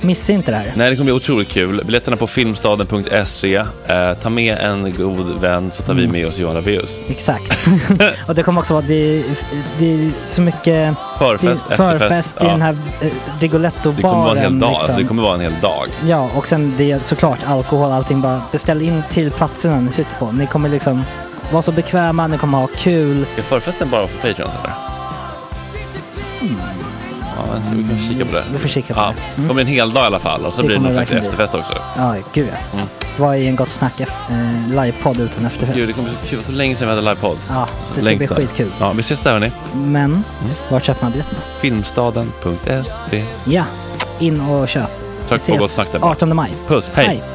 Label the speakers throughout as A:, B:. A: Missa inte det här.
B: Nej, det kommer bli otroligt kul. Biljetterna på filmstaden.se. Eh, ta med en god vän så
A: Mm.
B: tar vi med oss Johan Rabaeus.
A: Exakt. och det kommer också vara, det är, det är så mycket det är
B: Förfest,
A: förfest
B: efterfest.
A: i
B: ja.
A: den här eh,
B: det kommer vara en
A: Rigoletto-baren.
B: hel dag.
A: liksom.
B: Det kommer vara en hel dag.
A: Ja, och sen det är såklart alkohol allting. Bara beställ in till platserna ni sitter på. Ni kommer liksom vara så bekväma, ni kommer ha kul.
B: Är förfesten bara för Patreons eller? Ja, vi kan kika på det.
A: Mm. Vi får kika på
B: Ja,
A: det. Mm.
B: det kommer bli en hel dag i alla fall och så
A: Det
B: blir det
A: kommer
B: någon slags
A: verkligen bli.
B: efterfest också.
A: Ja, gud ja. Vad är en gott snack eh, livepodd utan efterfest?
B: Gud, det kommer bli så kul. Det var så länge sedan vi hade livepodd.
A: Ja, det ska
B: Längtar. Mm.
A: bli skitkul.
B: Ja, vi ses där hörni.
A: Men, vart köper man biljetterna?
B: Filmstaden.se.
A: Ja, in och köp. Vi
B: Tack på gott snack där bara.
A: 18 maj.
B: Puss, hej!
A: Hej.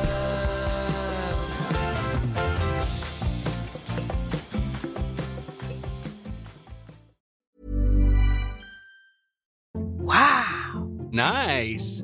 C: Nice.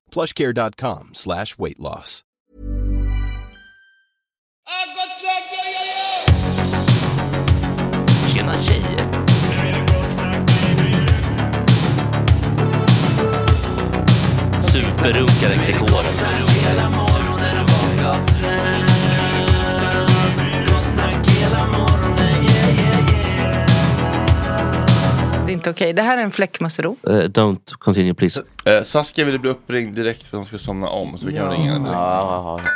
D: plushcare.com slash weight loss.
E: Tjena tjejer! Superrunkaren Gregoren.
F: Det är inte okej. Det här är en fläckmussero.
E: Eh, don't continue please.
B: Eh, Saskia ville bli uppringd direkt för att hon ska somna om så vi kan ringa henne direkt.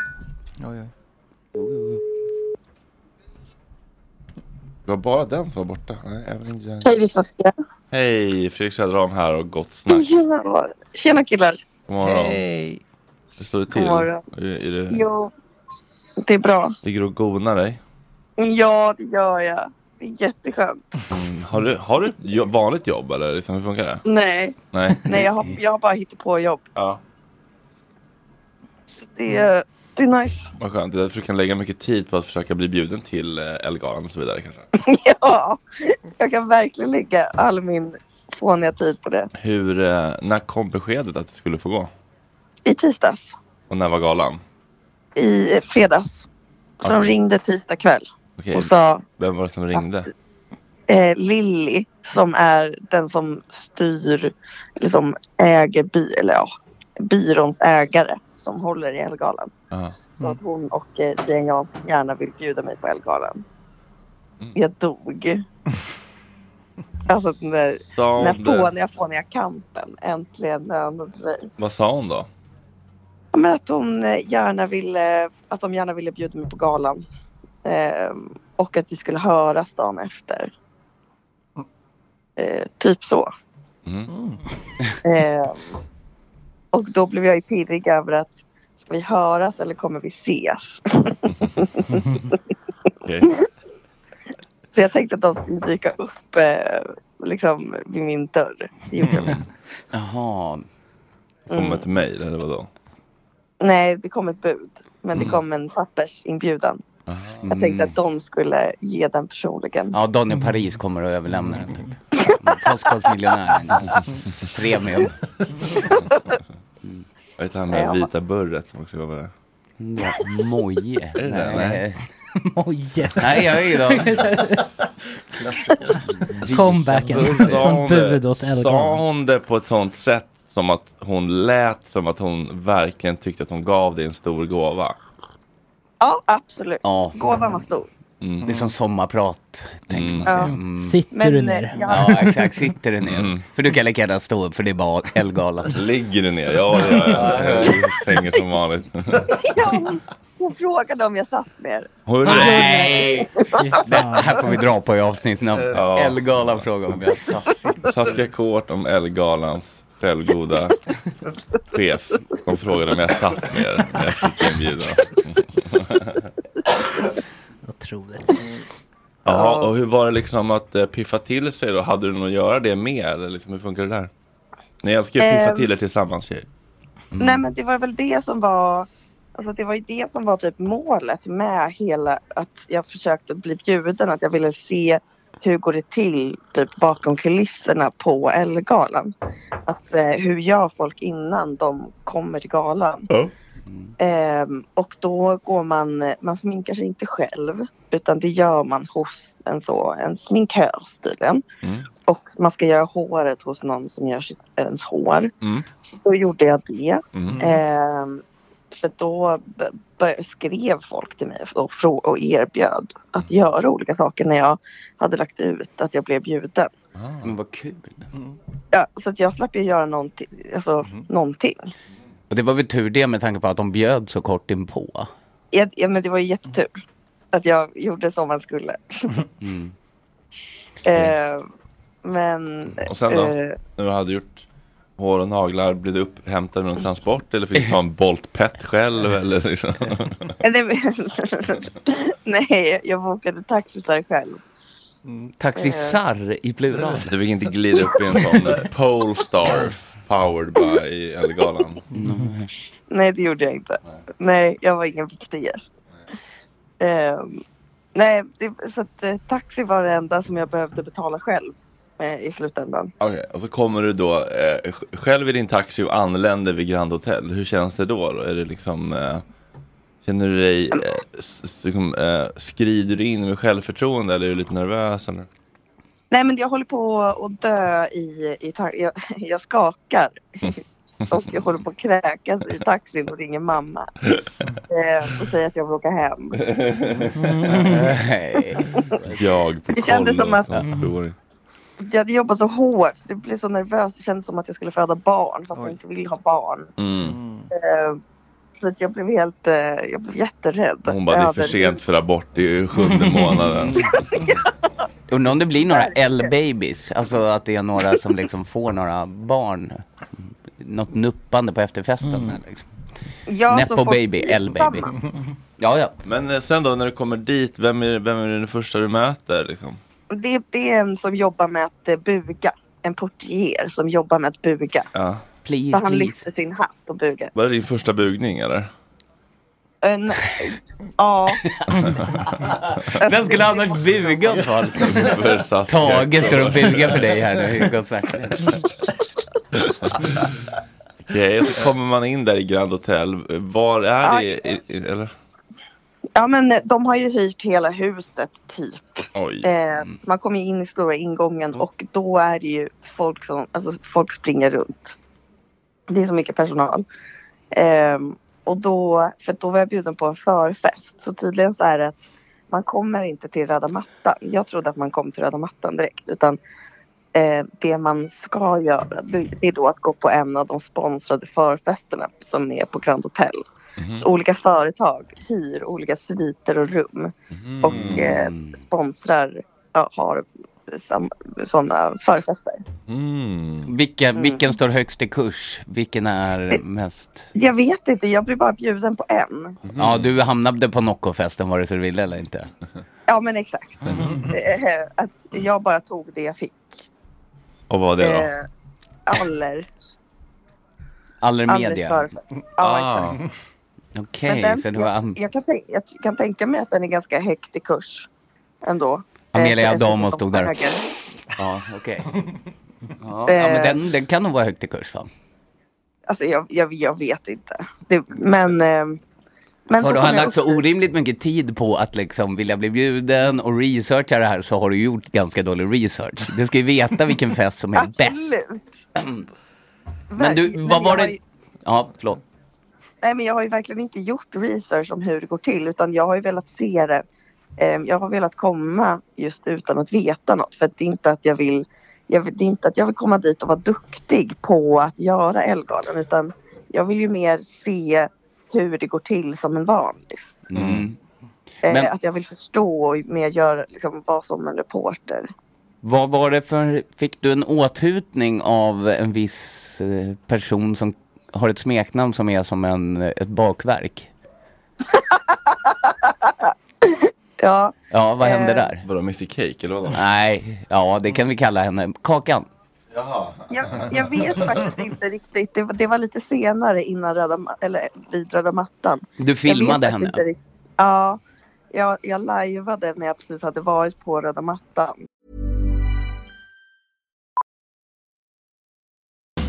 B: Det var bara den som var borta. Nej, även inte.
G: Hej, det är Saskia.
B: Hej, Fredrik Söderholm här och gott snack.
G: Ja. Tjena killar.
B: God morgon.
F: Hej.
B: Hur står det till?
G: God morgon.
B: Är, är du,
G: Jo, det är bra.
B: ligger du och gonar dig?
G: Ja, det gör jag. Det är jätteskönt.
B: Mm. Har, du, har du ett jo- vanligt jobb eller liksom, hur funkar det?
G: Nej,
B: Nej.
G: nej jag, har, jag har bara hittat på jobb.
B: Ja,
G: Så det, är- det är nice.
B: vad skönt. Det är därför du kan lägga mycket tid på att försöka bli bjuden till eh, Ellegalan och så vidare kanske.
G: Ja, jag kan verkligen lägga all min fåniga tid på det.
B: Hur, eh, när kom beskedet att du skulle få gå?
G: I tisdags,
B: Och när var galan?
G: i fredags. Så de
B: Okej.
G: ringde tisdag kväll
B: Okej.
G: och sa
B: Vem var det som ringde?
G: eh, Lilly som är den som styr, eller som äger bi, eller ja, byråns ägare som håller i Ellegalan.
B: Ja.
G: Så att hon och eh, Jane Jansson gärna vill bjuda mig på Ellegalan.
B: Mm.
G: Jag dog. Alltså den där
B: Sa
G: den där
B: hon det?
G: fåniga, fåniga kampen äntligen lönade sig.
B: Vad sa hon då?
G: Ja, men att, hon eh, gärna ville, att de gärna ville bjuda mig på galan. Ehm, och att vi skulle höras dagen efter. Eh, typ så. Ehm, och då blev jag ju pirrig över att ska vi höras eller kommer vi ses?
B: Okej.
G: så jag tänkte att de skulle dyka upp eh, liksom vid min dörr. Det gjorde de inte.
B: Jaha. Kom ett mejl eller vadå?
G: Nej, det kom ett bud. Men det kom en pappersinbjudan. Jag tänkte att de skulle ge den personligen.
H: Ja, Daniel Paris kommer och överlämnar den typ. Postkodmiljonären. Premium.
B: Vad heter han med
H: Ja.
B: vita burret som också jobbar där?
H: Moje.
B: Är det det?
H: Nej.
A: Moje.
H: Nej, jag är ju då.
A: Comebacken
B: Sa
A: som
B: hon det-
A: bud åt
B: Sa
A: Ellegalan.
B: hon det på ett sånt sätt som att hon lät som att hon verkligen tyckte att hon gav dig en stor gåva?
G: Ja, absolut.
H: Ja.
G: Gåvan var stor.
H: Det är som sommarprat. Tänker man sig.
G: Ja.
H: Mm.
A: Sitter
G: Men, du ner? eh, ja.
H: Ja. exakt. Sitter du ner?
B: Mm.
H: För du kan lika gärna stå upp, för det är bara Ellegalan.
B: Ligger du ner? Ja, det gör jag. Jag fänger som vanligt.
G: Ja, hon, hon frågade om jag satt ner.
B: Hörru.
H: Nej! Det här får vi dra på i avsnittsnamn.
B: Ja.
H: Ellegalan frågar om jag satt.
B: Taskiga kort om Ellegalans självgoda chef som frågade om jag satt ner när jag fick inbjudan.
A: Otroligt.
B: Jaha, och hur var det liksom att eh, piffa till sig då? Hade du något att göra det med? Eller liksom, hur funkar det där? Ni älskar ju att piffa
G: Ehm.
B: till er tillsammans tjejer.
G: Nej, men det var väl det som var... Alltså det var ju det som var typ målet med hela att jag försökte bli bjuden. Att jag ville se hur går det till typ bakom kulisserna på Ellegalan. Att eh, hur gör folk innan de kommer till galan. Ehm, och då går man, man sminkar sig inte själv utan det gör man hos en, så, en sminkös tydligen. Och man ska göra håret hos någon som gör sitt, ens hår. Så då gjorde jag det.
B: Mm.
G: Ehm, för då b- bör- skrev folk till mig och, frå- och erbjöd att
B: Mm.
G: göra olika saker när jag hade lagt ut att jag blev bjuden.
H: Men vad kul.
G: Ja, så att jag slapp ju göra någonting. Alltså,
B: Mm-hmm.
G: någonting.
H: Och det var väl tur det med tanke på att de bjöd så kort inpå.
G: Ja, ja, men det var ju jättetur att jag gjorde som man skulle.
B: Mm-hmm.
H: Mm.
G: Ehm, men...
B: Och sen då?
G: eh,
B: När du hade gjort hår och naglar, blev du upphämtad med någon transport? Eller fick du ta en boltpett själv? Eller liksom?
G: nej, men- nej, jag bokade taxisar själv.
H: Taxisar i plural.
B: Du fick inte glida upp i en sån Polestar powered by Ellegalan.
G: Nej, det gjorde jag inte. Nej, jag var ingen viktig gäst. Ehm, nej, det, så att eh, taxi var det enda som jag behövde betala själv eh, i slutändan.
B: Okej, och så kommer du då eh, sj- själv i din taxi och anländer vid Grand Hotel. Hur känns det då? då? Är det liksom, eh, känner du dig, eh, s- s- liksom, eh, skrider du in med självförtroende eller är du lite nervös? Eller?
G: Nej, men jag håller på att dö i, i ta- jag, jag skakar. och jag håller på att kräkas i taxin och ringer mamma. Eh, och säger att jag vill åka hem.
H: Nej.
B: Jag på
G: Det kändes som
B: kollet
G: att-
B: som sjuåring.
G: Jag hade jobbat så hårt så det blev så nervöst. Det kändes som att jag skulle föda barn fast jag inte vill ha barn.
B: Mm.
G: Eh, så att jag blev helt, eh, jag blev jätterädd.
B: Hon bara, det är för
G: över-
B: sent för abort, det är ju sjunde månaden.
H: Undrar om det blir några L-babies. Alltså att det är några som liksom får några barn. Något nuppande på efterfesten. här, Liksom.
G: Ja,
H: Nepo
G: så folk
H: baby,
G: blir
H: L-baby.
G: tillsammans.
H: Ja, ja.
B: Men eh, sen då när du kommer dit, vem är, vem är den första du möter? Liksom?
G: Det, det är en som jobbar med att eh, buga. En portier som jobbar med att buga.
B: Ja.
G: så han lyfter sin hatt och bugar.
B: Var det din första bugning eller?
G: En, ja.
H: Den skulle annars buga för
B: För Saskia.
H: Tage står och bugar för dig här nu. gott sagt.
B: Okej, så kommer man in där i Grand Hotel. Var är
G: Ja,
B: det? I, i, eller?
G: ja men eh, de har ju hyrt hela huset typ.
B: Oj.
G: Eh, så man kommer ju in i stora ingången och då är det ju folk som, alltså folk springer runt. Det är så mycket personal. Eh, och då, för då var jag bjuden på en förfest. Så tydligen så är det att man kommer inte till röda mattan. Jag trodde att man kom till röda mattan direkt. Utan eh, det man ska göra det, det är då att gå på en av de sponsrade förfesterna som är på Grand Hotel. Så olika företag hyr olika sviter och rum och eh,
H: Mm.
G: sponsrar, ja, har sådana förfester.
H: Vilka, vilken står högst i kurs? Vilken är mest?
G: Jag vet inte, jag blir bara bjuden på en.
H: Ja, du hamnade på Noccofesten vare sig du ville eller inte.
G: Ja men exakt.
H: Mm.
G: Eh, Att jag bara tog det jag fick.
B: Och vad var det då?
G: Eh, Aller. Allers
H: Allermedia.
G: förfest. Ja, exakt. Men
H: Ah, Okej,
G: den-
H: så det var
G: jag,
H: Am-
G: jag, kan tänka, jag kan tänka mig att den är ganska högt i kurs ändå.
H: Amelia
G: Eh,
H: Adamo stod där.
G: höger.
H: Ja, okej. Ja, ja, men den, den kan nog vara högt i kurs va?
G: Alltså jag, jag, jag vet inte. Det, men... eh, men så
H: För du
G: kom
H: har
G: jag
H: lagt så orimligt mycket tid på att liksom vilja bli bjuden och researcha det här så har du gjort ganska dålig research. Du ska ju veta vilken fest som är bäst.
G: Absolut.
H: Men du,
G: Verkligen.
H: vad var
G: Jag har
H: det?
G: ju-
H: Ja, förlåt.
G: Nej men jag har ju verkligen inte gjort research om hur det går till utan jag har ju velat se det. Eh, Jag har velat komma just utan att veta något för att det är inte att jag vill, jag vill, det är inte att jag vill komma dit och vara duktig på att göra Ellegalan utan jag vill ju mer se hur det går till som en vanlis.
H: Mm.
G: Eh,
H: Men-
G: Att jag vill förstå och mer göra, liksom, vara som en reporter.
H: Vad var det för, fick du en åthutning av en viss eh, person som har ett smeknamn som är som en, eh, ett bakverk?
G: Ja,
H: Ja, vad hände
G: Eh.
H: där?
B: Vadå, Mr Cake eller vadå?
H: Nej, ja det kan vi kalla henne. Kakan.
B: Jaha.
G: Jag, jag vet faktiskt inte riktigt. Det var, det var lite senare innan röda, ma- eller vid röda mattan.
H: Du
G: Jag vet
H: filmade
G: faktiskt
H: henne?
G: inte riktigt. Ja, jag, jag lajvade när jag precis hade varit på röda mattan.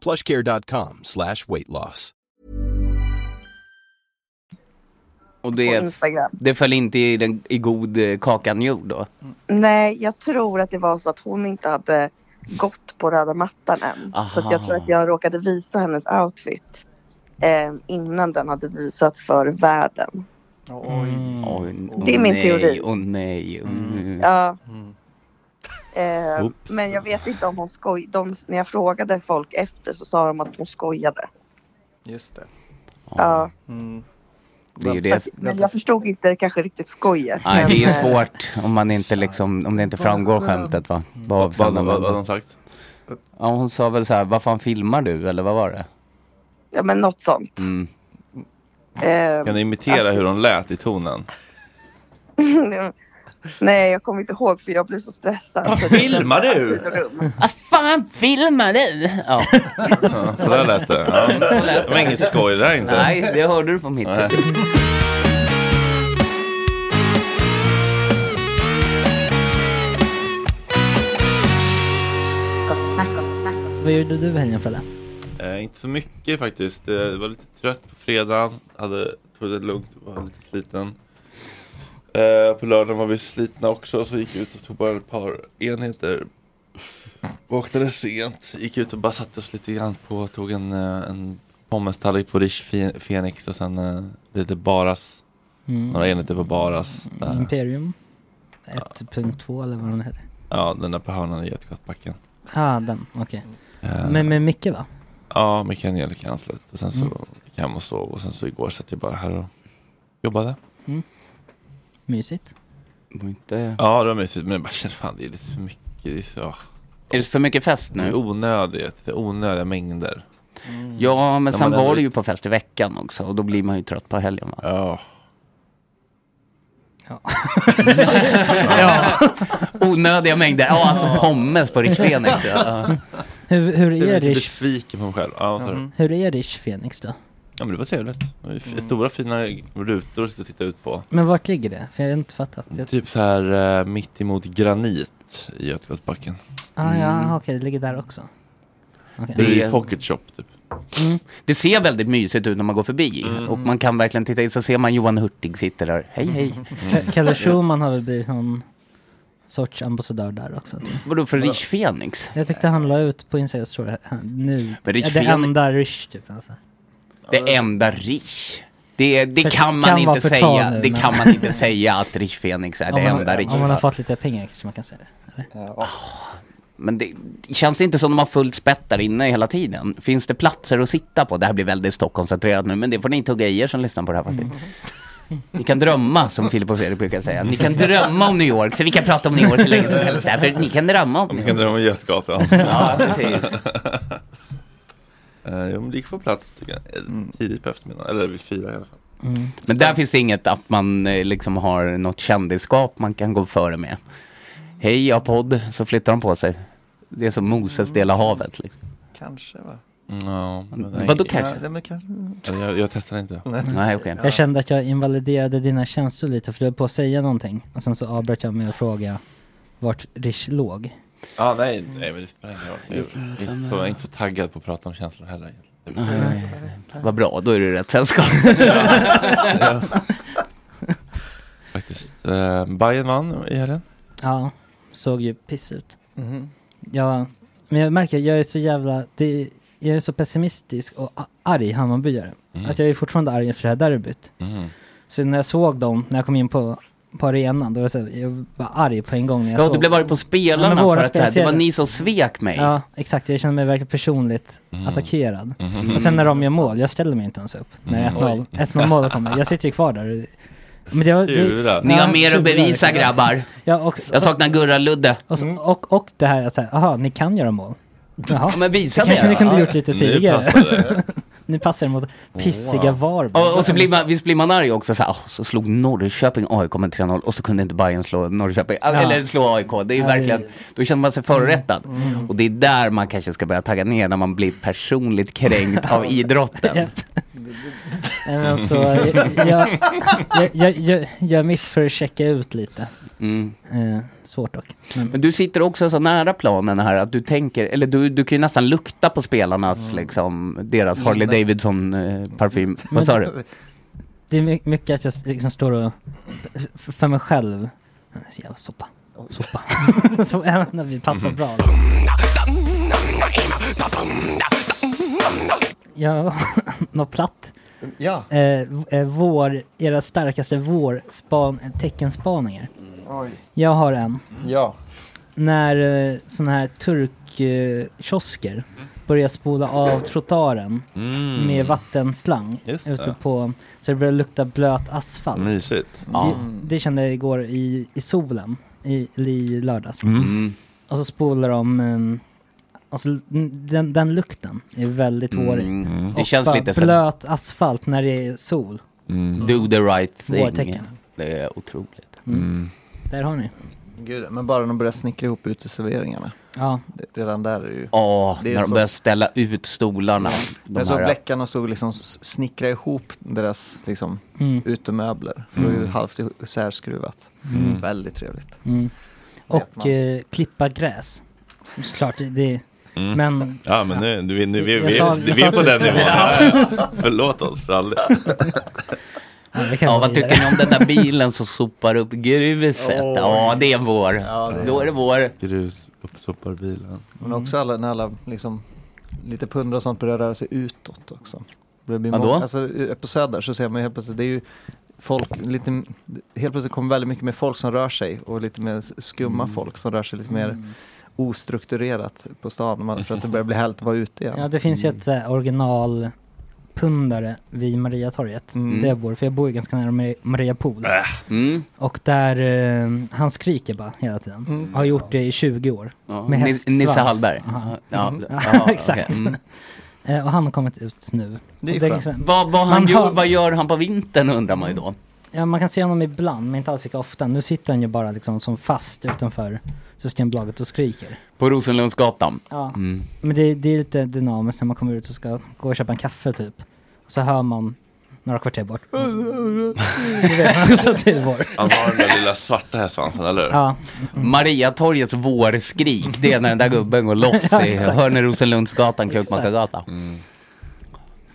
D: Plushcare.com slash weight loss.
H: Och
G: På
H: det,
G: Instagram.
H: det föll inte i, den, i god eh, Kakan jord då?
G: Nej, jag tror att det var så att hon inte hade gått på röda mattan än. Så att jag tror att jag råkade visa hennes outfit eh, innan den hade visats för världen.
H: Oj, åh
G: Det är min
H: nej,
G: teori.
H: Åh nej. åh
B: Mm.
H: nej.
G: Ja.
H: Mm.
G: Eh,
H: Oop.
G: men jag vet inte om hon skoj... De, när jag frågade folk efter så sa de att hon skojade.
I: Just det.
G: Ja.
I: Mm.
H: Det är ju det.
G: Men jag förstod inte kanske riktigt skojet.
H: Nej, det är ju
G: men, eh,
H: svårt om man inte liksom, om det inte framgår skämtet va? Vad
B: Mm. Vad- vad- vad- vad har hon
H: sagt? Ja, hon sa väl så här, vad fan filmar du eller vad var det?
G: Ja, men något sånt.
H: Mm.
G: Eh,
B: Kan du imitera hur hon lät i tonen?
G: Nej, jag kommer inte ihåg för jag blev så stressad. Vad
B: filmar du?
H: Vad fan filmar du? Ja.
B: Ja, så där lät det. Ja. Det var inget skoj det där inte.
H: Nej, det hörde du på mitt.
B: Nej.
I: Gott snack, gott snack.
A: Vad gjorde du i helgen Fredde?
B: Eh, inte så mycket faktiskt. Eh, Jag var lite trött på fredagen. Hade, tog det lugnt, var lite sliten. Eh, på lördagen var vi slitna också så gick jag ut och tog bara ett par enheter. Vaknade sent, gick ut och bara satte oss lite grann på, tog en, eh, en pommes-tallrik på Rich Fe- Phoenix och sen eh, lite Baras.
A: Mm.
B: Några enheter på Baras. Där.
A: Imperium 1.2 eller vad den heter.
B: Ja, den där på hörnan i Götgatbacken.
A: Ah, den, okej.
B: Eh.
A: Men med Micke va?
B: Ja, mycket Angelica anslöt. Och sen så
A: Mm.
B: gick jag hem och sov och sen så igår satt jag bara här och jobbade.
A: Mysigt.
H: Inte...
B: Ja, det var mysigt men jag bara kände fan det är lite för mycket. Det är, så,
H: Är det för mycket fest
B: det
H: nu?
B: är onödigt, det är onödiga mängder.
H: Ja, men
B: När
H: sen
B: man ändå-
H: var det ju på fest i veckan också och då blir man ju trött på helgen va?
B: Ja.
H: ja. Onödiga mängder, ja alltså pommes på Rich Phoenix. Ja.
A: Hur, hur
B: Jag blev
A: är
B: lite
A: Rich?
B: besviken på mig själv. Ja, sorry.
A: Hur är Rich Phoenix då?
B: ja men det var trevligt. Det var ju f- Stora fina rutor att sitta och titta ut på.
A: Men vart ligger det? För jag har inte fattat. Jag...
B: Typ så här eh, mitt emot granit i Götgatsbacken.
A: Ah, ja, okej, det ligger där också. Okej.
B: Det är ju pocket shop typ.
H: Det ser väldigt mysigt ut när man går förbi
A: Mm.
H: och man kan verkligen titta in så ser man Johan Hurtig sitter där. Hej hej.
A: Ke- Kalle Schulman har väl blivit någon sorts ambassadör där också. tror jag.
H: Vadå för Rich Phoenix?
A: Jag tyckte han la ut på Instagram tror jag, han- nu.
H: Men Rich
A: Ja, det
H: Phoenix-
A: enda Rich typ alltså.
H: Det enda Rich. Det, det
A: För-
H: kan man
A: kan vara
H: inte
A: förtal
H: säga.
A: nu,
H: det
A: men-
H: kan man inte säga att Rich Phoenix är
A: Om
H: det
A: man,
H: enda Rich.
A: om man har fått lite pengar kanske man kan säga det.
H: Men det känns inte som de har fullt spett där inne hela tiden. Finns det platser att sitta på? Det här blir väldigt Stockkoncentrerat nu, men det får ni tugga i er som lyssnar på det här faktiskt.
A: Mm.
H: Ni kan drömma, som Filip och Fredrik brukar säga. Ni kan drömma om New York, så vi kan prata om New York hur länge som helst. Därför ni kan drömma om
B: Om
H: New
B: kan
H: York.
B: drömma om Götgatan.
H: Ja, precis.
B: Eh, Jo men det gick för plats tycker jag. Eh, Tidigt på eftermiddagen, eller vid fyra i alla fall.
H: Men där finns det inget att man eh, liksom har något kändisskap man kan gå före med. Hej, jag har podd, så flyttar de på sig. Det är som Moses delar
A: Mm.
H: havet. Liksom.
J: Kanske va?
B: Ja,
H: Vadå kanske?
J: Ja, men kanske.
B: Ja, Jag, jag testar inte.
H: Nej, okej.
A: Jag kände att jag invaliderade dina känslor lite för du höll på att säga någonting. Och sen så avbröt jag med att fråga vart Rich låg.
B: Ja, nej, nej men det spelar ingen roll. Jag är inte så- jag är inte så taggad på att prata om känslor heller. egentligen.
H: Nej, nej, nej. Vad bra, då är du i rätt sällskap.
B: Ja. Faktiskt. Eh, Bayern vann i helgen.
A: Ja, såg ju piss ut.
H: Mm-hmm.
J: Mhm.
A: Ja, men jag märker, jag är så jävla, det, jag är så pessimistisk och a- arg Hammarbyare.
J: Mm.
A: Att jag är fortfarande arg för det här derbyt.
H: Mm-hmm.
J: Mm.
A: Så när jag såg dem, när jag kom in på, på arenan, då var jag, så, här- jag var arg på en gång när jag
H: Ja,
A: såg
H: du blev arg på
A: Ja,
H: spelarna
A: men
H: för
A: våra
H: att så här, det var
A: spelare.
H: ni som svek mig.
A: Ja, exakt. Jag känner mig verkligen personligt attackerad.
H: Mhm.
A: Och sen när de gör mål, jag ställer mig inte ens upp. När
H: Mm.
A: 1-0 1-0 målet kommer. Jag sitter ju kvar där. Men det var,
H: Tjurar. Ni har mer att
A: tjurar,
H: bevisa,
A: verkligen.
H: grabbar.
A: Ja, och,
H: Jag saknar Gurra-Ludde.
A: och, så- och, och det här att säga, aha, ni kan göra mål. Jaha,
H: Ja, men visa
A: det kanske
H: det
A: ni
H: då.
A: kunde gjort lite
H: Nu
A: tidigare.
H: passar det.
A: nu passar det mot pissiga Varberg.
H: Och, och så blir man, visst blir man arg också så här, "Åh, så slog Norrköping AIK med 3-0 och så kunde inte Bayern slå Norrköping, Alltså,
A: Ja.
H: eller slå AIK. Det är ju
A: Ja,
H: verkligen,
A: det-
H: då känner man sig förorättad.
A: Mm.
H: Och det är där man kanske ska börja tagga ner när man blir personligt kränkt av idrotten.
A: Nej, men så, jag, jag, jag, jag, jag är mitt för att checka ut lite.
H: Mm.
A: Eh, svårt dock. Men,
H: Men du sitter också så nära planen här att du tänker, eller du, du kan ju nästan lukta på spelarnas,
A: Mm.
H: liksom, deras Harley
A: Lukta.
H: Davidson-parfym. Vad sa du?
A: Det är my- mycket att jag s- liksom står och, f- för mig själv, så jävla soppa. Soppa. så även när vi passar
J: Mhm.
A: bra. Ja, något platt.
J: Ja.
A: Eh, v- eh, vår, era starkaste vårspan, eh, teckenspaningar.
J: Oj.
A: Jag har en.
J: Ja.
A: När eh, sådana här turkkiosker eh, kiosker började spola av trottoaren
B: Mm.
A: med vattenslang
B: Just
A: ute
B: det.
A: på, så det började lukta blöt asfalt.
H: Mm.
B: Mysigt.
A: Det, det kände jag igår i, i solen, i, i lördags.
B: Mm.
A: Och så spolar de, um, alltså n- den, den lukten är väldigt
H: Mm.
A: vårig.
H: Mm.
A: Och
H: Det känns
A: bara
H: lite så-
A: blöt asfalt när det är sol.
H: Do the right thing.
A: Vårtecken.
H: Det är otroligt.
A: Där har ni.
I: Gud, men bara de börjar snickra ihop uteserveringarna.
A: Ja.
I: Det- Redan där är ju...
H: Ja,
I: Det är
H: när de
I: så-
H: börjar ställa ut stolarna. De
I: jag såg
H: här-
I: Bleckan och såg liksom s- snickra ihop deras liksom,
A: Mm.
I: utemöbler. För det var ju halvt isärskruvat.
A: Mm.
I: Väldigt trevligt.
A: Mm.
I: Vet
A: Och eh, klippa gräs. Såklart, det,
B: Mm.
A: men
B: Ja men nu, nu, nu vi,
A: Jag
B: vi,
A: sa-
B: vi,
A: jag
B: vi
A: sa
B: är på
A: att du
B: den
A: skulle-
B: nivån. Ja, ja. Förlåt oss för all
H: Ja, vad tycker ni om den där bilen som sopar upp gruset?
I: Åh.
H: Ja, det är vår.
I: Ja, det är-
H: Då är det vår.
B: Grus uppsopar bilen.
I: Men
G: Mm.
I: också alla, när alla liksom, lite pundar och sånt börjar röra sig utåt också. Det blir
H: Vadå?
I: många- Alltså, eh, på Söder så ser man ju helt plötsligt, det är ju folk, lite, helt plötsligt kommer väldigt mycket mer folk som rör sig och lite mer s- skumma folk som rör sig lite mer ostrukturerat på stan man- för att det börjar bli härligt att vara ute igen.
A: Ja, det finns ju
H: Mm.
A: ett eh, originalpundare vid Mariatorget,
I: Mm.
A: där jag bor, för jag bor ju ganska nära Mar- Maria Pool.
H: Mm.
A: Och där, eh, han skriker bara hela tiden.
H: Mm.
A: Har gjort det i 20 år.
H: Ja.
A: Med
H: Ni-
A: hästsvans.
H: Nisse Hallberg?
A: Ja,
H: Ja.
A: Mm.
H: Ja,
A: Ja,
H: okej.
A: exakt.
H: Mm.
A: Eh, och han har kommit ut nu.
H: Det är
A: Och
H: ju skönt.
A: liksom-
H: vad, vad, han
A: man
H: gör,
A: hör-
H: vad gör han på vintern undrar man ju då.
A: Ja, man kan se honom ibland, men inte alls lika ofta. Nu sitter han ju bara liksom som fast utanför Systembolaget och skriker.
H: På Rosenlundsgatan.
A: Ja.
H: Mm.
A: Men det, det är lite dynamiskt när man kommer ut och ska gå och köpa en kaffe typ. Och så hör man några kvarter bort. Då vet man så att det är vår.
B: Han har den där lilla svarta här svansen, eller hur?
A: Ja.
H: Mariatorgets vårskrik, det är när den där gubben går loss
A: Ja,
H: i
A: exakt.
H: Hörnerrosenlundsgatan, Krukmakargatan.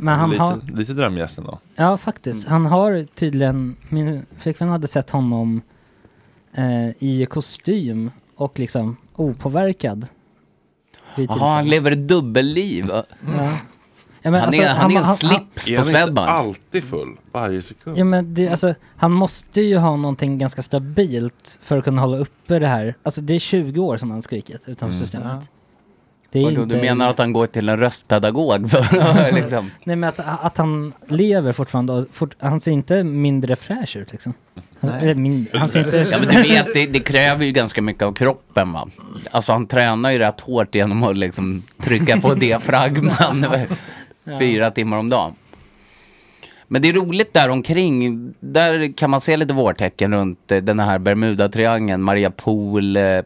A: Men han
B: lite,
A: har,
B: lite drömgästen då.
A: ja faktiskt,
H: Mm.
A: han har tydligen, min flickvän hade sett honom eh, i kostym och liksom opåverkad. vid
H: Jaha, han
A: tillfället.
H: lever ett dubbelliv.
A: Ja. Ja, men
H: han,
A: alltså,
H: är, han,
A: han-
H: är en
A: han-
H: slips
A: han-
H: på
A: Är han inte
H: Swedbank.
B: alltid full, varje sekund.
A: Ja men det, alltså, han måste ju ha någonting ganska stabilt för att kunna hålla uppe det här. Alltså det är 20 år som han skrikit utanför
H: Mm.
A: systemet.
H: Ja.
A: Det är
H: Vadå,
A: inte-
H: Du menar att han går till en röstpedagog för att liksom...
A: Nej men att, att han lever fortfarande, och fort, han ser inte mindre fräsch ut liksom. Han, eller mindre, han ser inte...
H: Ja, men du vet, det, det kräver ju ganska mycket av kroppen va. Alltså han tränar ju rätt hårt genom att liksom trycka på diafragman över fyra timmar om dagen. Men det är roligt där omkring. Där kan man se lite vårtecken runt eh, den här Bermuda-triangeln, Maria Pool, eh,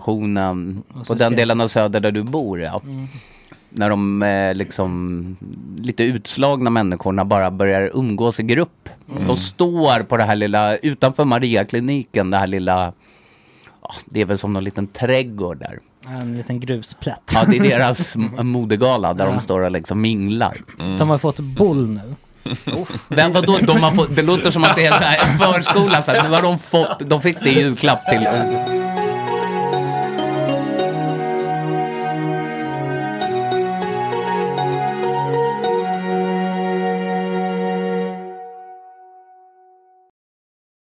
H: polisstationen
A: Och så
H: och den
A: ska- Mm.
H: delen av söder där du bor. Ja. När de eh, liksom lite utslagna människorna bara börjar umgås i grupp.
A: Mm.
H: De står på det här lilla, utanför Mariakliniken, det här lilla, ja, det är väl som någon liten trädgård där.
A: En liten grusplätt.
H: Ja, det är deras m- modegala där
A: Ja.
H: de står och liksom minglar.
A: De har fått boll nu.
H: Men vadå, de har fått, det låter som att det är så här en förskola, så här, nu har de fått, de fick det i julklapp till... eh,